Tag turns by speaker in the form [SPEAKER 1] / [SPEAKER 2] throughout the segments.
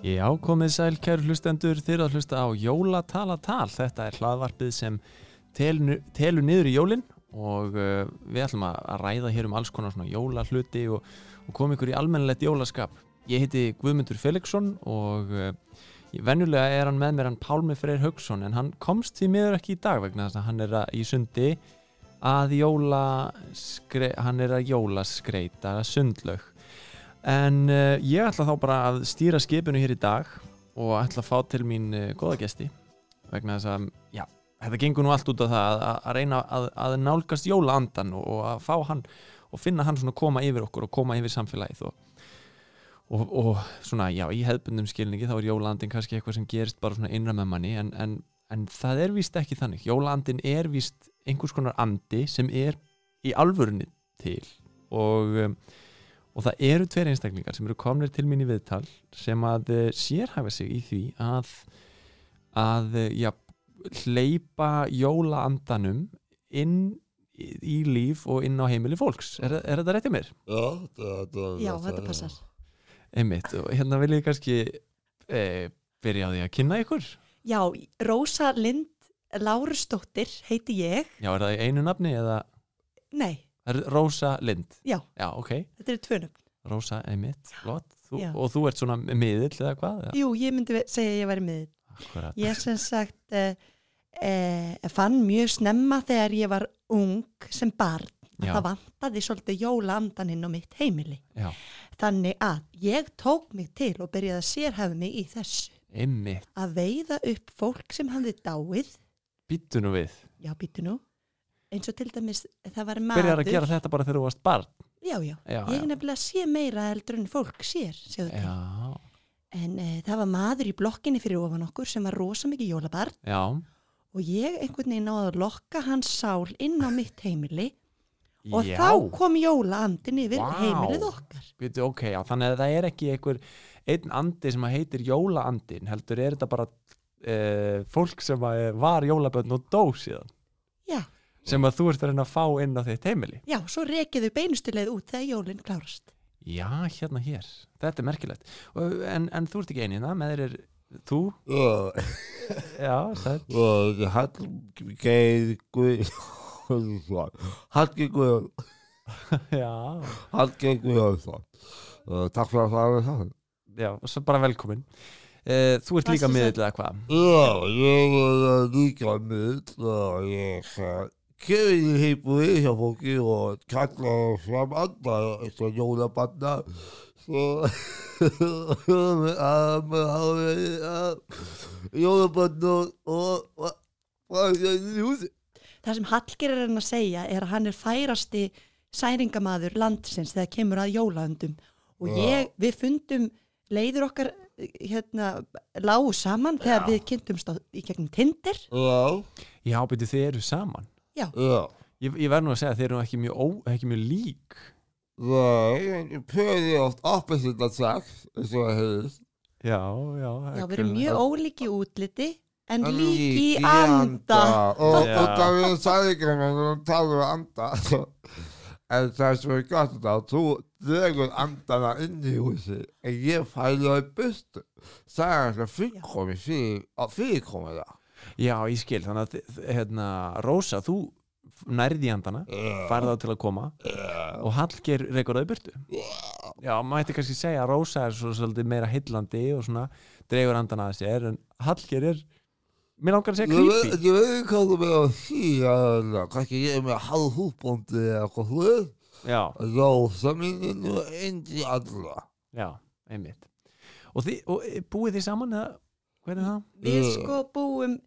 [SPEAKER 1] Já, komið sæl kæru hlustendur þeir að hlusta á Jólatalatal þetta er hlaðvarpið sem telnu, telur niður í jólin og uh, við ætlum að að ræða hér um alls konar svona jólahluti og, og koma ykkur í almennilegt jólaskap Ég heiti Guðmundur Felixson og uh, ég- venjulega er hann með mér hann Pálmi Freyr Haugsson en hann komst því miður ekki í dag vegna þess að hann er að, í sundi að jólaskre, hann er að jólaskreita sundlaug En uh, ég ætla þá bara að stýra skipinu hér í dag og ætla að fá til mín uh, góða gesti vegna þess að, já, þetta gengur nú allt út af það að, að- að reyna að, að nálgast jólaandan og, og að fá hann og finna hann svona koma yfir okkur og koma yfir samfélagið og, og, og svona, já, í hefðbundum skilningi þá er jólaandin kannski eitthvað sem gerist bara svona innra með manni en, en, en það er víst ekki þannig. Jólaandin er víst einhvers konar andi sem er í alvörunni til og... Um, og það eru tveir einstaklingar sem eru komnir til mín í viðtal sem að eh, sérhæfa sig í því að að eh, já, hleypa jólaandanum inn í í líf og inn á heimili fólks er, er þetta réttið mér?
[SPEAKER 2] Já, þetta, þetta,
[SPEAKER 3] Já, þetta passar.
[SPEAKER 1] Einmitt, og hérna vil ég kannski e, byrja á því að kynna ykkur
[SPEAKER 3] Já, Rósa Lind Lárusdóttir heiti ég.
[SPEAKER 1] Já, er það í einu nafni eða
[SPEAKER 3] Nei,
[SPEAKER 1] er Rósa Lind?
[SPEAKER 3] Já.
[SPEAKER 1] Já, ok,
[SPEAKER 3] þetta eru tvönum.
[SPEAKER 1] Rósa, einmitt, flott þú,
[SPEAKER 3] Já.
[SPEAKER 1] og þú ert svona miðill eða hvað? eða?
[SPEAKER 3] Jú, ég myndi ve- segja að ég væri miðill.
[SPEAKER 1] Akkúrat.
[SPEAKER 3] Ég sem sagt uh, uh, fann mjög snemma þegar ég var ung sem barn.
[SPEAKER 1] Já.
[SPEAKER 3] Já. Það vantaði svolítið jólaandan inn á mitt heimili.
[SPEAKER 1] Já,
[SPEAKER 3] Þannig að ég tók mig til og byrjaði að sérhafa mig í þessu.
[SPEAKER 1] einmitt,
[SPEAKER 3] Að veiða upp fólk sem hafði dáið,
[SPEAKER 1] býttu nú við
[SPEAKER 3] já, býtu nú, eins og til dæmis það var maður.
[SPEAKER 1] byrjar að gera þetta bara þegar þú varst barn
[SPEAKER 3] Já, já.
[SPEAKER 1] já,
[SPEAKER 3] Ég nefnilega sé meira heldur en fólk sér,
[SPEAKER 1] já,
[SPEAKER 3] segðu til. En e, það var maður í blokkinni fyrir ofan okkur sem var rosa mikið jólabarn
[SPEAKER 1] já,
[SPEAKER 3] og ég einhvern veginn náði að lokka hans sál inn á mitt heimili og
[SPEAKER 1] já.
[SPEAKER 3] þá kom jólaandin yfir
[SPEAKER 1] Vá.
[SPEAKER 3] heimilið okkar.
[SPEAKER 1] Bíddu, ok, já, þannig að það er ekki einhver einn andi sem að heitir jólaandin heldur er þetta bara uh, fólk sem að eh, var jólabönn og dó síðan
[SPEAKER 3] Já,
[SPEAKER 1] sem að þú ert að reyna að fá inn á þitt heimili
[SPEAKER 3] já, svo rekiðu beinustileið út þegar jólinn klárast.
[SPEAKER 1] já, hérna hér, þetta er merkilegt Og- en, en þú ert ekki einina með þér er þú,
[SPEAKER 2] Já,
[SPEAKER 1] já, það
[SPEAKER 2] og Hallgeir Guðjónsson Hallgeir Guðjónsson
[SPEAKER 1] já,
[SPEAKER 2] Hallgeir Guðjónsson Uh, Takk fyrir að það er það
[SPEAKER 1] já, svo bara velkomin uh, þú ert
[SPEAKER 3] Blessuð
[SPEAKER 1] líka
[SPEAKER 3] sé-
[SPEAKER 1] miðill eða hvað
[SPEAKER 2] Já, ég er uh, líka mynd og ég uh, kemur í heimur hjá fólki og kallar fram andra eins og jólabanna svo um, um, jólabanna og og- og og-
[SPEAKER 3] Það sem Hallger er hann að segja er að hann er færasti særingamaður landsins þegar kemur að jólaöndum og
[SPEAKER 2] Já.
[SPEAKER 3] ég, við fundum leiður okkar eh, hérna, lágu saman þegar við kynntumst á, í gegnum Tinder
[SPEAKER 2] Já,
[SPEAKER 1] já, byrju, þið eru saman
[SPEAKER 2] já
[SPEAKER 1] Ég, ég verð nú að segja að þeir eru nú ekki mjög, ó, ekki mjög lík.
[SPEAKER 2] Nei, pöði oft opposite sex eins og það hefðist
[SPEAKER 1] Já, já.
[SPEAKER 3] Já, við erum mjög ólíki í útliti en líki í
[SPEAKER 2] Lík
[SPEAKER 3] anda
[SPEAKER 2] Og,
[SPEAKER 1] Já.
[SPEAKER 2] og það við sæðingarinn og tala um anda En það sem er gott þá Þú dregur andana inn í húsi En ég fæli það í bustu Það er alltaf fyrirkomi fyrir, Fyrirkomi það
[SPEAKER 1] Já, ég skil, þannig að þi- þi- hérna, Rósa, þú nærði í andana, farði á til að koma og Hallgeir reykur það í burtu. Já, maður ætti kannski segja að Rósa er svo svolítið meira heillandi og svona dreigur andana að sér, en Hallgeir er, mér langar að segja
[SPEAKER 2] Ég veit
[SPEAKER 1] creepy.
[SPEAKER 2] ég veit ekki hvað þú með að því að Kannski ég er með hálf húfbóndi eða eitthvað hlut
[SPEAKER 1] Já,
[SPEAKER 2] Rósa mín er nú endi alla
[SPEAKER 1] já, einmitt. Og, þið, og e, búið þið saman eða, hvernig er það?
[SPEAKER 3] Við
[SPEAKER 2] Já.
[SPEAKER 3] sko búum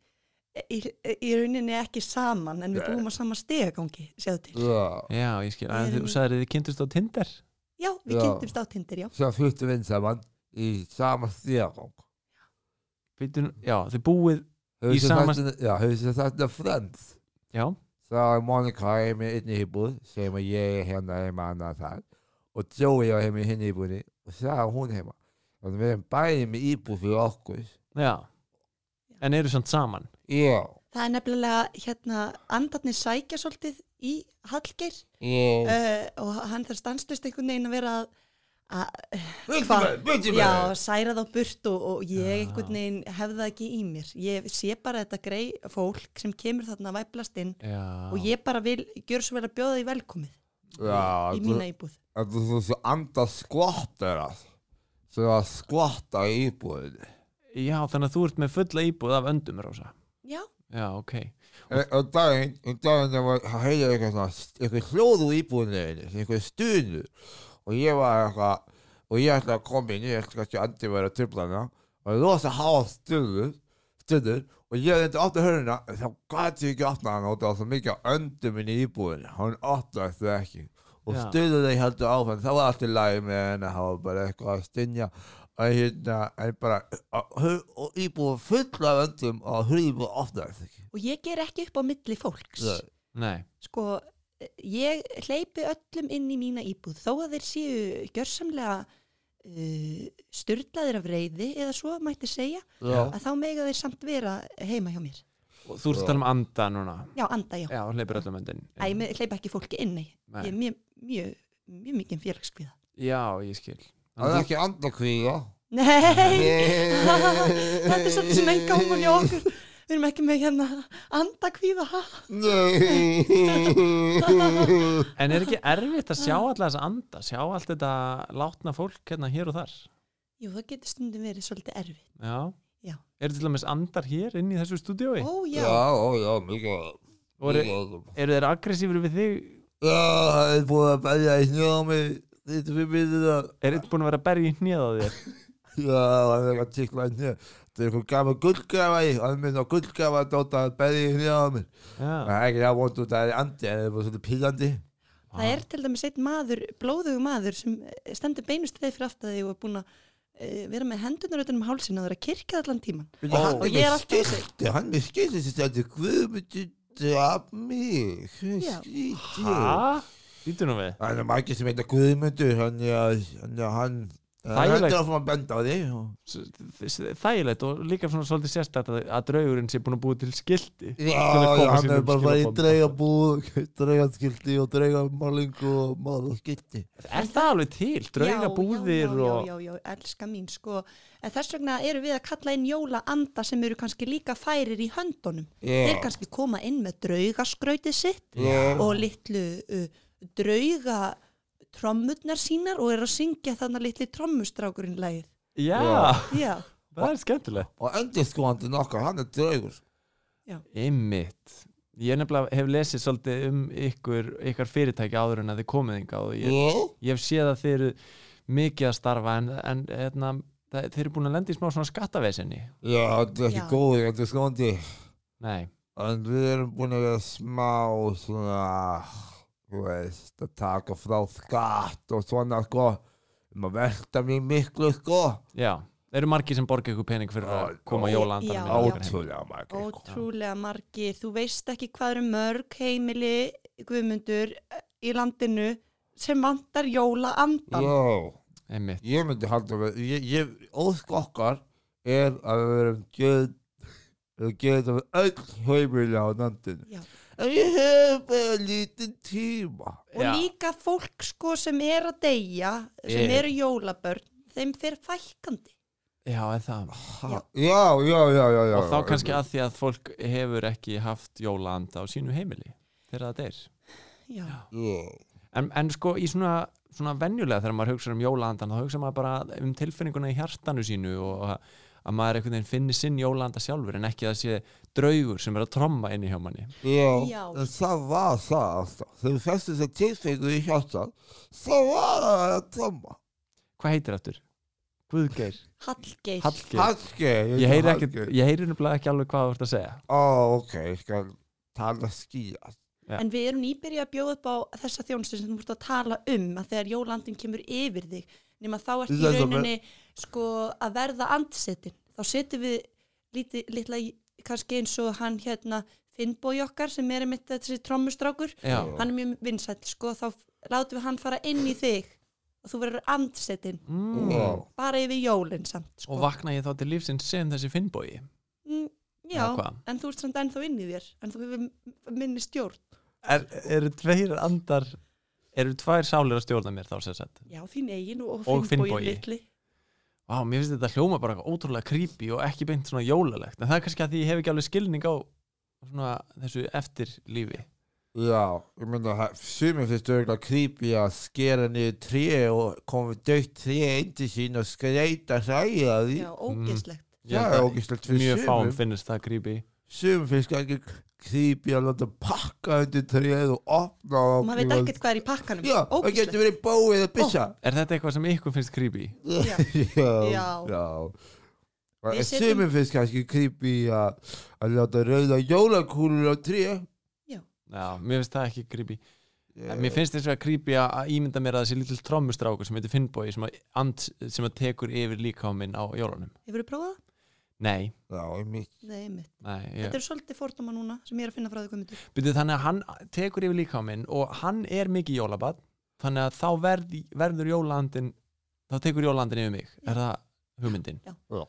[SPEAKER 3] í, í rauninni ekki saman en við búum á sama stegagangi, séðu til
[SPEAKER 2] Já
[SPEAKER 1] Já, ég skil, en
[SPEAKER 3] Við erum-
[SPEAKER 1] þú sagðir þið kynntust á Tinder?
[SPEAKER 3] Já, við
[SPEAKER 2] Já.
[SPEAKER 3] kynntumst á Tinder, já
[SPEAKER 2] sem fluttum inn saman í sama stíðargang.
[SPEAKER 1] Bíddu nú- Já, þið búið Í sama-
[SPEAKER 2] Já, hefur sér þetta Friends.
[SPEAKER 1] Já,
[SPEAKER 2] Það er Monica er með inn í hýbúð sem að ég er hérna heima annað þar og Joey er heima í hinn hýbúðinni og það er hún heima. Þannig að við erum bæði með íbúð fyrir okkur.
[SPEAKER 1] já En eru samt saman
[SPEAKER 2] Já,
[SPEAKER 3] Það er nefnilega, hérna, andarnir sækja svolítið í Hallgeir
[SPEAKER 2] já,
[SPEAKER 3] Eh, uh, og hann þarf stanslist einhvern veginn að vera að, að
[SPEAKER 2] Böndi
[SPEAKER 3] hvað-
[SPEAKER 2] með, böndi með.
[SPEAKER 3] já, særa þá burt og, og ég einhvern veginn hefði það ekki í mér ég sé bara þetta grei fólk sem kemur þarna að væplast inn
[SPEAKER 1] já.
[SPEAKER 3] og ég bara vil, gjör svo vel að bjóða því velkomið
[SPEAKER 2] Já,
[SPEAKER 3] í mína íbúð
[SPEAKER 2] þetta er þessi anda skvottir sem að skvotta í íbúðinni.
[SPEAKER 1] já, þannig að þú ert með fulla íbúð af öndum, Rósa
[SPEAKER 3] já,
[SPEAKER 1] Já, ok
[SPEAKER 2] E- Og daginn, um daginn ég var að heyra eitthvað svona, eitthvað hljóð úr íbúðinni, þinni, eitthvað stuðu og ég var eitthvað, og ég ætla að koma inn, ég ætla ekki andi verið að tripla hana og ég losa háa stuðu, stuður og ég reyndi að opna hörnina en þá gæti ég ekki að opna hana og það var svo mikið af öndum inn í íbúðinni, hann opnaði þau ekki og
[SPEAKER 1] Já.
[SPEAKER 2] stuður þau heldur áfram, það var allt í lagi með henni, það var bara eitthvað að stinja og hérna, en bara og hu- og íbúð full af öndum og hurðið opnaði þau ekki
[SPEAKER 3] og ég ger ekki upp á milli fólks
[SPEAKER 2] Nei.
[SPEAKER 1] Nei,
[SPEAKER 3] sko, eh, ég hleypi öllum inn í mína íbúð þó að þeir séu gjörsamlega uh, styrlaðir af reyði eða svo mætti segja
[SPEAKER 2] Já.
[SPEAKER 3] að þá mega þeir samt vera heima hjá mér
[SPEAKER 1] og þú ert að tala um anda núna
[SPEAKER 3] já, anda já,
[SPEAKER 1] Já, hleypir öllum öndin
[SPEAKER 3] Æ, ég hleypa ekki fólki inn nei.
[SPEAKER 1] Nei.
[SPEAKER 3] ég er mjög, mjög, mjög mikið félagskviða
[SPEAKER 1] Já, ég skil
[SPEAKER 2] það
[SPEAKER 1] Þannig
[SPEAKER 2] er
[SPEAKER 1] að
[SPEAKER 2] ekki andakvíða
[SPEAKER 3] nei,
[SPEAKER 2] þetta
[SPEAKER 3] þetta er svolítið svona einn gáman hjá okkur við erum ekki með hérna andakvíða ha?
[SPEAKER 2] Nei
[SPEAKER 1] þú- En er ekki erfitt að sjá alla þessa anda sjá allt þetta látna fólk hérna hér og þar
[SPEAKER 3] jú, það getur stundum verið svolítið erfið
[SPEAKER 1] Já,
[SPEAKER 3] Já.
[SPEAKER 1] Eru til dæmis andar hér inn í þessu stúdíói
[SPEAKER 3] ó já,
[SPEAKER 2] Já, ó, já, mikið
[SPEAKER 1] og eru, eru þeir aggressífur við þig
[SPEAKER 2] Já, það er búið að berja í snjómi Þetta fyrir myndið að
[SPEAKER 1] er einn búin að vera að berja í hnið á þér
[SPEAKER 2] Já, það er eitthvað tíkla í snjó Þetta er eitthvað gaman gullgrafa í Hann minn á gullgrafa dóta að berja í snjómi Það
[SPEAKER 1] Já,
[SPEAKER 2] er ekki það vond út að það er andi en Það er bara svolítið pílandi Ah.
[SPEAKER 3] það er til dæmis einn maður blóðugu maður sem eh, stendur beinust þeir fyrir aftur þig og er búin að eh, vera með hendunar utan um hálsina og er að kirkja allan tíman
[SPEAKER 2] Bíddu, hann
[SPEAKER 3] og
[SPEAKER 2] er
[SPEAKER 3] ég
[SPEAKER 2] með
[SPEAKER 3] er alltaf að segja
[SPEAKER 2] skilti, Hann er með skilti sem stendur Guðmundur draf mig
[SPEAKER 3] Já.
[SPEAKER 2] Hæ?
[SPEAKER 1] Hæ? Lítur nú við
[SPEAKER 2] Það er margir sem heita Guðmundur hann er hann er hann hann
[SPEAKER 1] Þægilegt.
[SPEAKER 2] heldur áfram að benda á þig og-
[SPEAKER 1] S- Þægilegt og líka svona svolítið sérstætt að, að draugurinn sé búin að búi til skilti
[SPEAKER 2] Já,
[SPEAKER 1] að koma um
[SPEAKER 2] já, hann
[SPEAKER 1] sínum
[SPEAKER 2] er bara farið í
[SPEAKER 1] skilaboðum.
[SPEAKER 2] dreigabúð dreigaskilti og dreigamálingu og málaskilti
[SPEAKER 1] Er það alveg til? Draugabúðir
[SPEAKER 3] já, já,
[SPEAKER 1] og
[SPEAKER 3] já, já, já, elska mín sko en þess vegna eru við að kalla inn jólaanda sem eru kannski líka færir í höndunum
[SPEAKER 2] Já.
[SPEAKER 3] þeir kannski koma inn með draugaskrautið sitt
[SPEAKER 2] Já.
[SPEAKER 3] og litlu uh, drauga trommurnar sínar og eru að syngja þannig litli trommustrákurinn lagið
[SPEAKER 1] Já,
[SPEAKER 2] Já.
[SPEAKER 3] já,
[SPEAKER 1] það er skemmtilegt
[SPEAKER 2] og endurskóandinn okkar, hann er draugur
[SPEAKER 1] Einmitt. Ég nefnilega hef lesið svolítið um ykkur, ykkar fyrirtæki áður en að þið komið hingað og ég,
[SPEAKER 2] Já,
[SPEAKER 1] ég hef séð að þið eru mikið að starfa en, en hérna, það, þið eru búin að lenda í smá svona skattavesinni.
[SPEAKER 2] já, þetta er ekki
[SPEAKER 3] Já.
[SPEAKER 2] góður endurskóandi
[SPEAKER 1] Nei,
[SPEAKER 2] en við erum búin að vera smá svona þú veist, að taka frá skatt og svona sko um að velta mig miklu sko
[SPEAKER 1] já. Eru margir sem borga ykkur pening fyrir að
[SPEAKER 2] Já,
[SPEAKER 1] koma
[SPEAKER 3] já.
[SPEAKER 1] jólandanum?
[SPEAKER 3] Já, já.
[SPEAKER 2] ótrúlega margir sko.
[SPEAKER 3] ótrúlega margir þú veist ekki hvað eru mörg heimili guðmundur eh, í landinu sem vantar jólaandan
[SPEAKER 2] Já,
[SPEAKER 1] Einmitt.
[SPEAKER 2] ég myndi halda að vera- ég, ég, ósk okkar er að við erum gjöð við getum öll heimilega á landinu
[SPEAKER 3] Já.
[SPEAKER 2] en ég hef bara lítinn tíma
[SPEAKER 3] og
[SPEAKER 1] Já.
[SPEAKER 3] líka fólk sko sem er að deyja sem
[SPEAKER 2] Eh.
[SPEAKER 3] eru jólabörn þeim fer fækkandi
[SPEAKER 1] Já, er það.
[SPEAKER 2] ha, já, já, já, já, já
[SPEAKER 1] og þá kannski að því að fólk hefur ekki haft jólanda á sínu heimili þegar það deyr.
[SPEAKER 3] já,
[SPEAKER 2] já,
[SPEAKER 1] En, en sko í svona, svona venjulega þegar maður hugsa um jólaandan þá hugsa maður bara um tilfinninguna í hjartanu sínu og að- að maður einhvern veginn finni sinn jólanda sjálfur en ekki að það sé draugur sem er að tromma inni hjá manni.
[SPEAKER 2] já.
[SPEAKER 3] Já.
[SPEAKER 2] en það var það alltaf þegar þessi sem tilfengur í hjartan það var það að tromma
[SPEAKER 1] Hvað heitir aftur? Guðgeir.
[SPEAKER 3] Hallgeir
[SPEAKER 1] Hallgeir.
[SPEAKER 2] Hallgeir
[SPEAKER 1] Ég heyri, ekki,
[SPEAKER 2] Hallgeir.
[SPEAKER 1] ég heyri nefnilega ekki alveg hvað þú ert að segja.
[SPEAKER 2] ó, ok, ég skal tala skýra
[SPEAKER 3] en við erum nýbyrja að bjóða upp á þessa þjónustu sem þú múst að tala um að þegar jólandin kemur yfir þig nema þá ert í
[SPEAKER 2] Þetta er-
[SPEAKER 3] rauninni sko að verða andsetin þá setjum við líti, litla í- kannski eins og hann hérna Finnbói okkar sem er einmitt þessi trommustrákur
[SPEAKER 1] Já,
[SPEAKER 3] hann er mjög vinsætt sko þá látum við hann fara inn í þig og þú verður andsetin
[SPEAKER 2] já,
[SPEAKER 1] mm.
[SPEAKER 3] bara yfir jólinn samt sko.
[SPEAKER 1] og vakna ég þá til lífsins sem þessi finnbói.
[SPEAKER 3] Mm, já,
[SPEAKER 1] Eða hvað?
[SPEAKER 3] en þú ert samt ennþá inn í þér en þú hefur m- minni stjórn
[SPEAKER 1] Er, eru tveir andar eru tvær sálir að stjórna mér þá sem sagt
[SPEAKER 3] Já, þín eigin og,
[SPEAKER 1] Og
[SPEAKER 3] og
[SPEAKER 1] Finnbogi.
[SPEAKER 3] Finnbói litli.
[SPEAKER 1] Vá, mér finnst þetta hljóma bara eitthvað ótrúlega creepy og ekki beint svona jólalegt en það er kannski að því ég hef ekki alveg skilning á svona þessu eftirlífi
[SPEAKER 2] Já, ég myndi að sumir finnst auðvitað creepy að skera niður tré og koma dögt tré inn til sín og skreita hræja því.
[SPEAKER 3] Já, ógeslegt.
[SPEAKER 1] Ég
[SPEAKER 2] það
[SPEAKER 1] held
[SPEAKER 2] er
[SPEAKER 1] að
[SPEAKER 2] ógislegt fyrir
[SPEAKER 1] Mjög fáum
[SPEAKER 2] sumum.
[SPEAKER 1] finnist það creepy
[SPEAKER 2] Sumir finnst ekki creepy að láta pakka undir tréð og opna
[SPEAKER 3] Og maður veit ekkert hvað er í pakkanum.
[SPEAKER 2] Já, það
[SPEAKER 3] ógeslegt.
[SPEAKER 2] getur verið bóið eða byssa.
[SPEAKER 1] Er þetta eitthvað sem ykkur finnst creepy?
[SPEAKER 3] Já.
[SPEAKER 2] já,
[SPEAKER 3] Já.
[SPEAKER 2] já.
[SPEAKER 3] Við
[SPEAKER 2] En
[SPEAKER 3] setjum-
[SPEAKER 2] Sumir finnst kannski creepy að að láta rauða jólakúlur á tré.
[SPEAKER 1] Já, mér finnst það ekki creepy En Mér finnst þess að creepy að- að ímynda mér að þessi lítil trommustrákur sem heitir Finnbogi sem, að and- sem að tekur yfir líkáminn á jólunum
[SPEAKER 3] Hefur þú prófað? það?
[SPEAKER 1] Nei,
[SPEAKER 2] Já, ég mitt.
[SPEAKER 3] Nei, mitt.
[SPEAKER 1] nei ég...
[SPEAKER 3] Þetta eru svolítið fordóma núna sem ég er að finna frá því komundur.
[SPEAKER 1] Byrju, Þannig að hann tekur yfir líkáminn og hann er mikið jólabad þannig að þá verð, verður jólandin þá tekur jólandin yfir mig er það hugmyndin?
[SPEAKER 3] Já.
[SPEAKER 2] Já.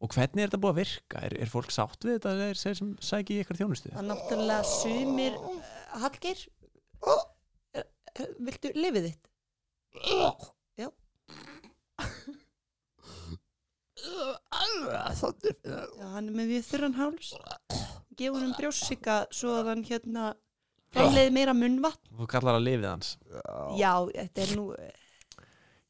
[SPEAKER 1] Og hvernig er þetta búið að virka? Er, er fólk sátt við þetta? Er þeir sem sæki í ykkur þjónustu?
[SPEAKER 3] Það er náttúrulega sumir uh, Hallgeir uh, uh, Viltu lifið þitt? Já.
[SPEAKER 2] Alveg, þannig fyrir
[SPEAKER 3] Já, hann er með við þurran háls Gefur hann brjósika svo að hann hérna framleiði meira munnvatn
[SPEAKER 1] Þú kallar að lifið hans
[SPEAKER 2] það.
[SPEAKER 3] Já, þetta er nú uh,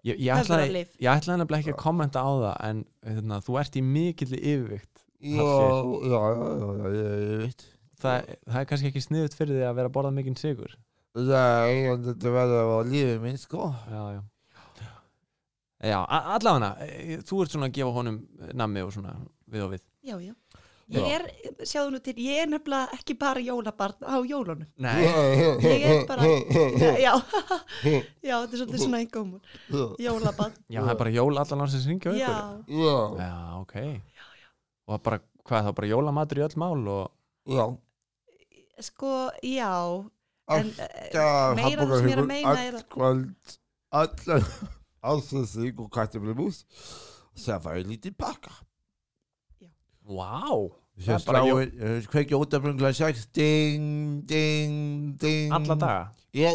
[SPEAKER 1] Ég, ég ætlaði
[SPEAKER 3] höfðurarlif
[SPEAKER 1] Ég ætlaði nefnilega ekki að kommenta á það en hérna, þú ert í mikilli yfirvikt
[SPEAKER 2] Já, já, já, já, já, ég veit.
[SPEAKER 1] það, það er kannski ekki sniðut fyrir því að vera að borða mikinn sigur
[SPEAKER 2] Dus, Nei, en þetta verður á lífið minn, sko.
[SPEAKER 1] Já, já Já, a- allavega, eh, þú ert svona að gefa honum eh, nammi og svona við og við
[SPEAKER 3] Já, já Ég er, sjáðu nú til, ég er nefnilega ekki bara jólabarn á jólunum
[SPEAKER 1] Nei,
[SPEAKER 3] Ég er bara, já, já, þetta er svolítið svona einhverjum jólabarn,
[SPEAKER 1] já, það er bara jól allan ársins ringi á ykkur
[SPEAKER 3] já,
[SPEAKER 2] Já,
[SPEAKER 1] Já, ok Og það bara, hvað þá, bara jólamatur í öll mál og
[SPEAKER 2] já.
[SPEAKER 3] sko, já, en
[SPEAKER 2] Já,
[SPEAKER 3] eh, meira það sem ég er að meina er að
[SPEAKER 2] Allkvöld, allan, allsensík og kartöflumús. Það var ég lítið pakka.
[SPEAKER 1] Vá, Það
[SPEAKER 2] Svo
[SPEAKER 1] er bara
[SPEAKER 2] sláin, eh, kveikja út af brungla 6, ding, ding, ding.
[SPEAKER 1] alla daga
[SPEAKER 2] Já.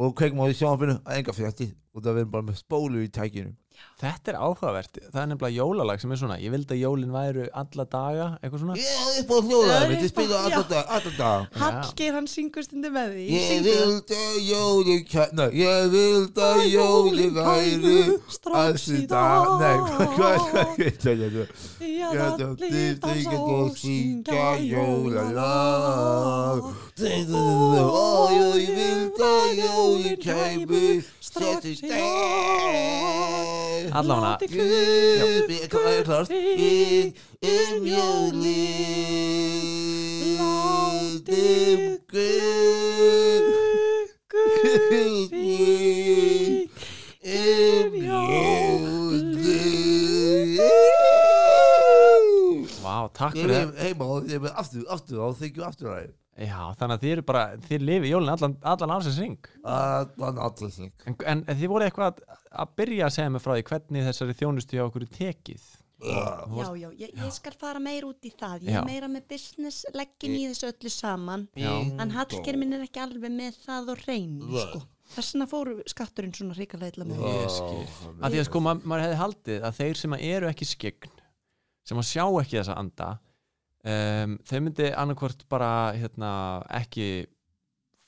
[SPEAKER 2] Og kveikjum á því sjónfinu, enga frétti. Og það verður bara með spólu í tækinu.
[SPEAKER 1] Þetta er áhugavert, það er nefnilega jólalag sem er svona, ég vildi að jólin væru alla daga, eitthvað svona
[SPEAKER 2] Ég er upp á hljóðar,
[SPEAKER 3] Já,
[SPEAKER 2] við
[SPEAKER 3] upp á-
[SPEAKER 2] spila
[SPEAKER 3] já.
[SPEAKER 2] alltaf dag, alltaf dag.
[SPEAKER 3] Hallgeir hann syngur stundi með því
[SPEAKER 2] Ég
[SPEAKER 3] Syngdu það.
[SPEAKER 2] vildi að jólin kæna, ég vildi að jólin væru alls í dag. Nei, hvað, hvað, hvað, hvað, hvað,
[SPEAKER 3] Já,
[SPEAKER 2] hvað,
[SPEAKER 3] allir
[SPEAKER 2] þið
[SPEAKER 3] dansa
[SPEAKER 2] getur
[SPEAKER 3] og
[SPEAKER 2] að syngja
[SPEAKER 3] jólalag.
[SPEAKER 2] jólalag. Ó, ég vildi að jólin kæmi, strax í dag.
[SPEAKER 1] Allavega,
[SPEAKER 3] Látið
[SPEAKER 2] Ég er klart, ég er klart,
[SPEAKER 3] kukkur
[SPEAKER 2] um jólin, látið guð.
[SPEAKER 3] Kukkur
[SPEAKER 2] Heima
[SPEAKER 1] Vá, takk fyrir það
[SPEAKER 2] og þeim er aftur, aftur á þykju aftur aðeins
[SPEAKER 1] Já, þannig að þið eru bara, þið lifi jólin allan, allan ársins ring
[SPEAKER 2] Allan allir þing
[SPEAKER 1] en, en þið voru eitthvað að, að byrja að segja mig frá því hvernig þessari þjónustu hjá okkur er tekið
[SPEAKER 3] Já, já, ég, ég skal fara meir út í það Ég
[SPEAKER 1] Já.
[SPEAKER 3] er meira með business leggin í þessu öllu saman En Hallgeir minn er ekki alveg með það og reynu sko. Þess vegna fóru skatturinn svona ríkalega illa með
[SPEAKER 1] Ég skil. að því að sko ma maður hefði haldið að þeir sem eru ekki skegn sem að sjá ekki þessa anda um, þeir myndi annarkvort bara hérna, ekki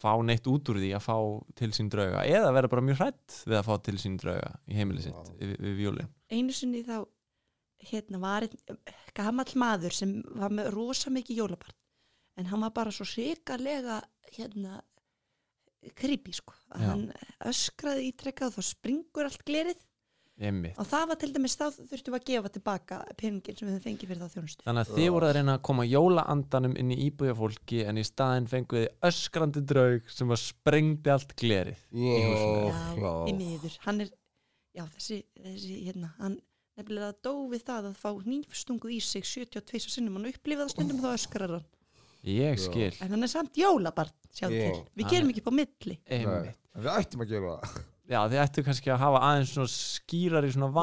[SPEAKER 1] fá neitt út úr því að fá til sín drauga eða vera bara mjög hrætt við að fá til sín drauga í heimili sitt
[SPEAKER 2] Vá.
[SPEAKER 1] við, við jólin
[SPEAKER 3] einu sinni þá hérna var einn gamall maður sem var með rosa mikið jólabarn en hann var bara svo sikalega hérna creepy sko
[SPEAKER 1] Já.
[SPEAKER 3] Já. hann öskraði ítrekkað og þá springur allt glerið
[SPEAKER 1] Einmitt.
[SPEAKER 3] og það var til dæmis þá þurftum við að gefa tilbaka peningin sem við höfum fengið fyrir þá þjónustu
[SPEAKER 1] þannig að þið voru að reyna að koma jólaandanum inn í íbúja fólki en í staðinn fenguði öskrandi draug sem að sprengdi allt glerið í húsinu
[SPEAKER 3] Já, í miður, hann er já, þessi, þessi, hérna, hann nefnilega dó við það að fá nýfstungu í sig 72 sinnum, hann upplifið það stundum og þá öskrar hann,
[SPEAKER 1] ég skil,
[SPEAKER 3] en hann er samt jólabarn, sjá
[SPEAKER 2] Já.
[SPEAKER 3] til, við
[SPEAKER 1] Hann
[SPEAKER 3] gerum
[SPEAKER 1] er-
[SPEAKER 3] ekki upp á milli
[SPEAKER 1] einmitt
[SPEAKER 2] Við ættum að gera það
[SPEAKER 1] já, þið ættu kannski að hafa aðeins svona skýrari svona
[SPEAKER 3] við-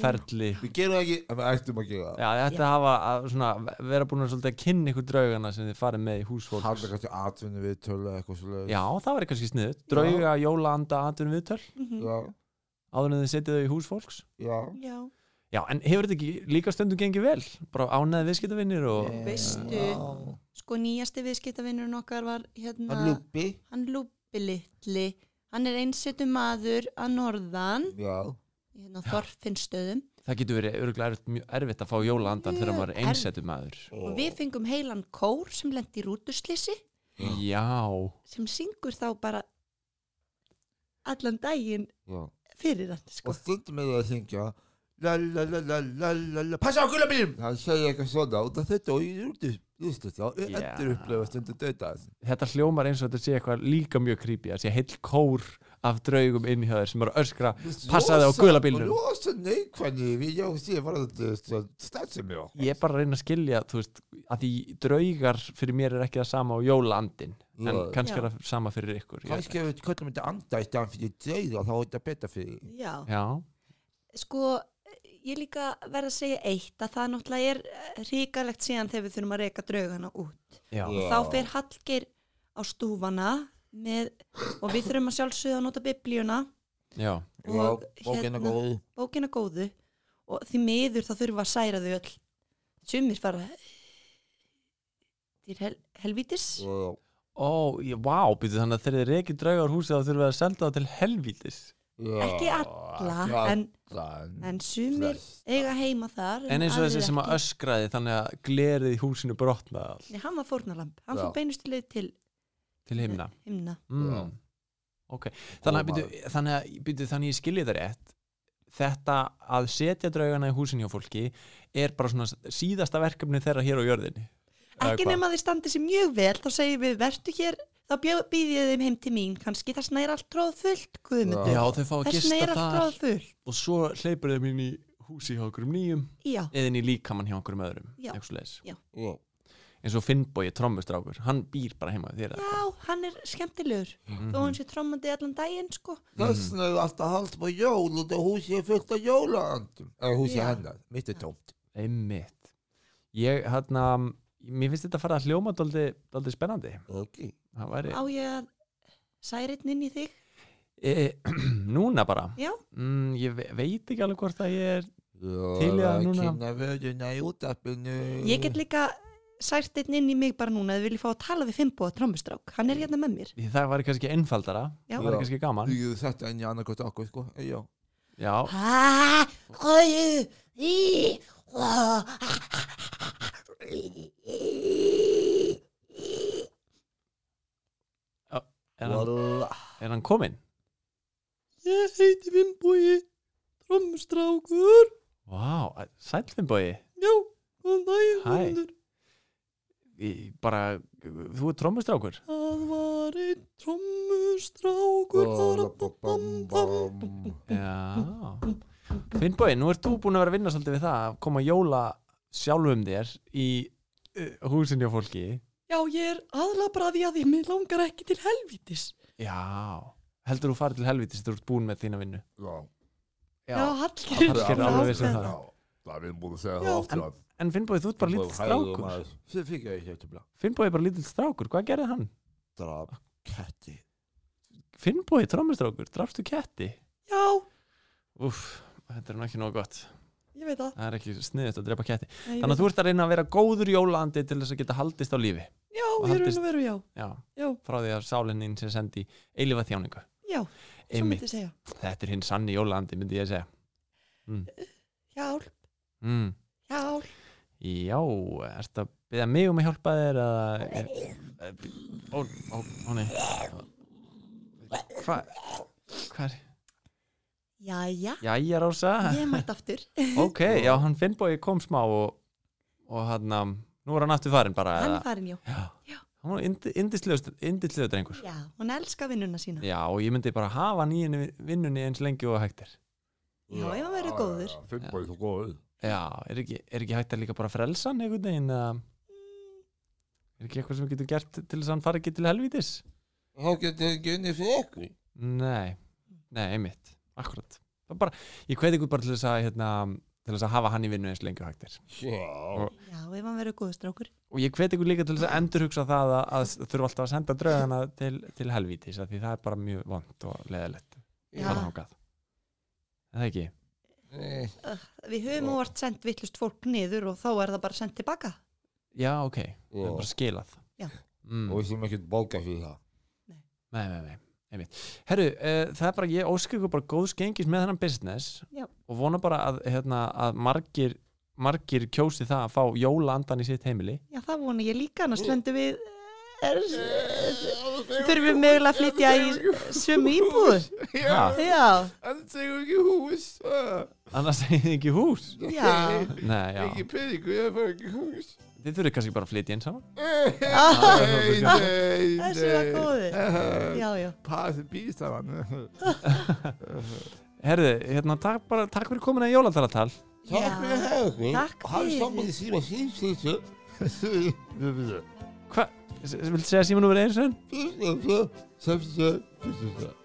[SPEAKER 1] valferli
[SPEAKER 2] Við gerum það ekki, en við ættum að gera það.
[SPEAKER 1] Já, þið ætti að hafa að svona, vera búin að svolítið að kynna ykkur draugana sem þið farið með í húsfólks
[SPEAKER 2] Hann er kannski atvinni við tölu eitthvað svo leiðis.
[SPEAKER 1] Já, það var kannski sniðut Drauga, jólaanda, atvinnum viðtöl
[SPEAKER 3] Mhm.
[SPEAKER 2] Já,
[SPEAKER 1] áður en þið setið þau í húsfólks
[SPEAKER 2] já.
[SPEAKER 3] Já,
[SPEAKER 1] Já, en hefur þetta ekki líka stundum gengið vel? Bara ánæðið viðskiptavinnir og
[SPEAKER 2] Eh,
[SPEAKER 3] Veistu-
[SPEAKER 2] já.
[SPEAKER 3] sko nýjasti viðskiptavinnurinn okkar var hérna,
[SPEAKER 2] Hann lúpi.
[SPEAKER 3] hann lúpi litli hann er einsettum maður að norðan
[SPEAKER 2] Já.
[SPEAKER 3] hérna á Þorfinnstöðum
[SPEAKER 1] það getur verið örgulega erfitt, mjög erfitt að fá jólaandan þegar maður er
[SPEAKER 3] Mjög
[SPEAKER 1] einsettum maður
[SPEAKER 3] og við fengum heilan kór sem lendi í rútuslýsi
[SPEAKER 1] Já,
[SPEAKER 3] sem syngur þá bara allan daginn
[SPEAKER 2] Já.
[SPEAKER 3] fyrir hann sko.
[SPEAKER 2] og stundum er það að syngja la la la la la la la passa á gulabílum það segja eitthvað svona og það þetta og ég er út og
[SPEAKER 1] Já.
[SPEAKER 2] endur upplifa stundum döta þessi
[SPEAKER 1] þetta hljómar eins og þetta sé eitthvað líka mjög creepy að sé heil kór af draugum inn hjá þér sem eru að öskra Passaðu á gula bílnum.
[SPEAKER 2] og rosa neikvæðni við já sé var þetta staðsum já
[SPEAKER 1] Ég er bara að reyna að skilja, þú veist, að því draugar fyrir mér er ekki það sama á jólaandin en
[SPEAKER 2] Já.
[SPEAKER 1] kannski
[SPEAKER 3] Já.
[SPEAKER 1] er það sama fyrir ykkur ég veit
[SPEAKER 2] kannski ef við köllum þetta anda í staðan fyrir döða þá er þetta betra fyrir
[SPEAKER 3] já,
[SPEAKER 1] ekki. Já,
[SPEAKER 3] sko ég líka verð að segja eitt að það náttúrulega er eh, hrikalegt síðan þegar við þurfum að reyka draugana út
[SPEAKER 1] já,
[SPEAKER 2] Já.
[SPEAKER 3] þá fer Hallgeir á stúfana með, og við þurfum að sjálfsögða að nota biblíuna
[SPEAKER 1] já,
[SPEAKER 2] já
[SPEAKER 3] og
[SPEAKER 2] bókina
[SPEAKER 3] hérna,
[SPEAKER 2] góð
[SPEAKER 3] bókina góðu og því miður þá þurfum við að særa þau öll sumir fara til hel, helvítis
[SPEAKER 2] Já,
[SPEAKER 1] Ó, ég, vá, býtu þannig að þegar þið reykir draugar úr húsi þá þurfum við að selda það til helvítis
[SPEAKER 3] Mm,
[SPEAKER 2] já.
[SPEAKER 3] ekki alla,
[SPEAKER 2] Já.
[SPEAKER 3] en,
[SPEAKER 2] Þann.
[SPEAKER 3] en sumir
[SPEAKER 2] Flest.
[SPEAKER 3] eiga heima þar
[SPEAKER 1] En eins og
[SPEAKER 3] aðrir
[SPEAKER 1] þessi sem að
[SPEAKER 3] ekki.
[SPEAKER 1] öskraði þannig að glerið í húsinu brotnaði all
[SPEAKER 3] Nei, hann var fórnalamb, hann
[SPEAKER 2] Já.
[SPEAKER 3] fór beinustileg til
[SPEAKER 1] til himna
[SPEAKER 3] himna
[SPEAKER 2] Já.
[SPEAKER 1] mm. Ok, þannig að,
[SPEAKER 2] Ó,
[SPEAKER 1] býtu, þannig, að, býtu, þannig að ég skilji það rétt Þetta að setja draugana í húsinu hjá fólki er bara svona síðasta verkefni þeirra hér á jörðinni Eða
[SPEAKER 3] ekki
[SPEAKER 1] hvað?
[SPEAKER 3] nema þið standi sér mjög vel þá segjum við, vertu hér þá býð ég þeim heim til mín, kannski þessna er allt tróð fullt, guðmund,
[SPEAKER 1] Já, þau fá að
[SPEAKER 3] þessna
[SPEAKER 1] gista
[SPEAKER 3] er allt
[SPEAKER 1] þar
[SPEAKER 3] tróð fullt
[SPEAKER 1] og svo hleypur þeim inn í húsi hjá okkur um nýjum
[SPEAKER 3] já,
[SPEAKER 1] eða inn í líkamann hjá okkur um öðrum
[SPEAKER 3] Já.
[SPEAKER 1] eitthvað svoleiðis.
[SPEAKER 2] Já.
[SPEAKER 1] eins og Finnbói trommustrákur, hann býr bara heima þér
[SPEAKER 3] já, hann er skemmtilegur þó hann sé trómandi allan daginn sko
[SPEAKER 2] Þessna er alltaf hald á jól og það húsið er fullt af jólaandum. Eða húsið
[SPEAKER 3] Já.
[SPEAKER 2] hennar, mitt er tómt.
[SPEAKER 1] Einmitt. Ég, hérna, mér finnst þetta að fara að hljóma daldi, daldi spennandi.
[SPEAKER 2] Ok.
[SPEAKER 1] Það væri,
[SPEAKER 3] á ég að særitn inn í þig
[SPEAKER 1] e, núna bara.
[SPEAKER 3] já,
[SPEAKER 1] Mm, ég ve- veit ekki alveg hvort að ég er,
[SPEAKER 2] Til
[SPEAKER 1] Til í það núna.
[SPEAKER 2] Kynna vörðuna í útarpinu.
[SPEAKER 3] ég get líka sært einn inn í mig bara núna þið viljið fá að tala við Fimboa trómustrák hann er hérna með mér
[SPEAKER 1] því það væri kannski einfaldara,
[SPEAKER 3] Já.
[SPEAKER 1] það væri kannski gaman.
[SPEAKER 2] Ég þetta inn í annarkot okkur, sko. Eh, Já.
[SPEAKER 1] Já,
[SPEAKER 3] Hæ, hæ, í, ó,
[SPEAKER 1] er hann, er hann kominn?
[SPEAKER 3] Ég heiti Fimboi, trommustrákur.
[SPEAKER 1] Vá, wow, sæl Finnbói.
[SPEAKER 3] Já, góðan daginn,
[SPEAKER 1] Hæ.
[SPEAKER 3] Guðmundur.
[SPEAKER 1] Ég Bara, þú er trommustrákur.
[SPEAKER 3] Það var einn trommustrákur þar að
[SPEAKER 1] Já. Finnbói, nú ert þú búin að vera að vinna svolítið við það að koma að jóla sjálfum þér í uh, húsinni á fólki.
[SPEAKER 3] Já, ég er aðla bara að því að ég mig langar ekki til helvítis.
[SPEAKER 1] Já, heldur þú farið til helviti sem þú ert búin með þína vinnu
[SPEAKER 2] Já.
[SPEAKER 3] Já,
[SPEAKER 1] Það
[SPEAKER 3] Hallgrímur.
[SPEAKER 1] er
[SPEAKER 2] Já.
[SPEAKER 1] alveg viss um
[SPEAKER 2] Já.
[SPEAKER 1] það.
[SPEAKER 2] Það er við búin að segja
[SPEAKER 3] Já.
[SPEAKER 2] það ofta.
[SPEAKER 1] En Finnbói, þú ert bara lítill strákur
[SPEAKER 2] Sér fikk ég ekki eftir blá.
[SPEAKER 1] Finnbói er bara lítill strákur, hvað gerði hann?
[SPEAKER 2] Draf ketti.
[SPEAKER 1] Finnbói, trómmistrákur, drafstu ketti?
[SPEAKER 3] Já,
[SPEAKER 1] Úff, þetta er nú ekki nóg gott
[SPEAKER 3] ég veit það.
[SPEAKER 1] Það er ekki sniðist að drepa ketti
[SPEAKER 3] Nei, ég
[SPEAKER 1] Þannig
[SPEAKER 3] veit
[SPEAKER 1] að þú ert að reyna að vera góður jólandi til þess að geta haldist á lífi
[SPEAKER 3] það. Já,
[SPEAKER 1] og
[SPEAKER 3] ég er
[SPEAKER 1] haldist-
[SPEAKER 3] raun og veru, já.
[SPEAKER 1] Já,
[SPEAKER 3] Já,
[SPEAKER 1] frá því að sálinnin sem sendi eilifa þjáningu
[SPEAKER 3] já, svo
[SPEAKER 1] Einmitt,
[SPEAKER 3] myndi ég segja.
[SPEAKER 1] þetta er hinn sanni jólandi, myndi ég að segja
[SPEAKER 3] Hjálp,
[SPEAKER 1] mm.
[SPEAKER 3] hjálp.
[SPEAKER 1] Já, ertu að byrja mig um að hjálpa þér að... að- Ó, ó, ó, nei. Hvað, hvað er...
[SPEAKER 3] Jæja,
[SPEAKER 1] Jæja, Rósa.
[SPEAKER 3] ég mætt aftur.
[SPEAKER 1] Ok, já, hann Finnbói kom smá og, og hann, um, nú er hann aftur farinn bara.
[SPEAKER 3] Hann er
[SPEAKER 1] eða-
[SPEAKER 3] farin, já.
[SPEAKER 1] Já. Hann var yndi- yndislegur yndislegur drengur.
[SPEAKER 3] Já, hún elska vinnuna sína.
[SPEAKER 1] Já, og ég myndi bara hafa hann í henni vinnunni eins lengi og hægt er.
[SPEAKER 3] Já, ef hann verið góður.
[SPEAKER 2] Fimm búin þú góður.
[SPEAKER 1] Já, er ekki, er ekki hægt að líka bara frelsa hann einhvern veginn? eða- Er ekki eitthvað sem við getum gert til þess að hann fari ekki til helvítis?
[SPEAKER 2] Þá getur þið ekki unni fyrir ykkur.
[SPEAKER 1] Nei, Nei, einmitt, akkurat Það bara, Ég hveti ykkur bara til þess að hérna, til þess að hafa hann í vinnu eins lengi og hægt er
[SPEAKER 2] Já.
[SPEAKER 3] Já, ef hann verður góður strákur.
[SPEAKER 1] og ég hveti ykkur líka til þess að endurhugsa það að, að þurfa alltaf að senda draugana til, til helvítis af því það er bara mjög vond og leðilegt
[SPEAKER 3] Já.
[SPEAKER 1] Það er ekki
[SPEAKER 2] Eh,
[SPEAKER 3] Við höfum
[SPEAKER 2] Já.
[SPEAKER 3] óvart sendt vittlust fólk niður og þá er það bara sendt tilbaka.
[SPEAKER 1] Já, ok, það er
[SPEAKER 2] Já.
[SPEAKER 1] bara skilað
[SPEAKER 3] Já.
[SPEAKER 1] mm.
[SPEAKER 2] Og við sem ekki bóka fyrir það.
[SPEAKER 1] Nei, nei, nei, einmitt Herru, uh, það er bara, ég óska ykkur bara góðs gengis með þennan business
[SPEAKER 3] Já.
[SPEAKER 1] og vona bara að, hérna, að margir margir kjósi það að fá jólaandan í sitt heimili
[SPEAKER 3] Já, það vona ég líka, annars lendum við er, þurfum við mögulega að flytja í sömu íbúður.
[SPEAKER 2] Eh.
[SPEAKER 1] Ha?
[SPEAKER 3] Já,
[SPEAKER 2] Hann tegur ekki hús. ah.
[SPEAKER 1] annars segið þið ekki hús
[SPEAKER 3] já.
[SPEAKER 1] Nei, já,
[SPEAKER 2] Ekki peningur, ég fær ekki hús.
[SPEAKER 1] þið þurfið kannski bara að flytja inn saman
[SPEAKER 2] Nei,
[SPEAKER 3] Ah,
[SPEAKER 2] nei, nei.
[SPEAKER 3] Þessi var góður.
[SPEAKER 2] Eh,
[SPEAKER 3] já, já.
[SPEAKER 2] Passi bístafann.
[SPEAKER 1] Herru, hérna, takk bara, takk fyrir komin að jólatalatal
[SPEAKER 2] Takk fyrir að hafa ykkur.
[SPEAKER 3] Takk
[SPEAKER 2] Og hann
[SPEAKER 3] fyrir.
[SPEAKER 2] stóð með síma símsýttu. Símsýttu.
[SPEAKER 1] Hvað, viltu segja síma númer einu sinn?
[SPEAKER 2] Símsýttu. Símsýttu. Símsýttu.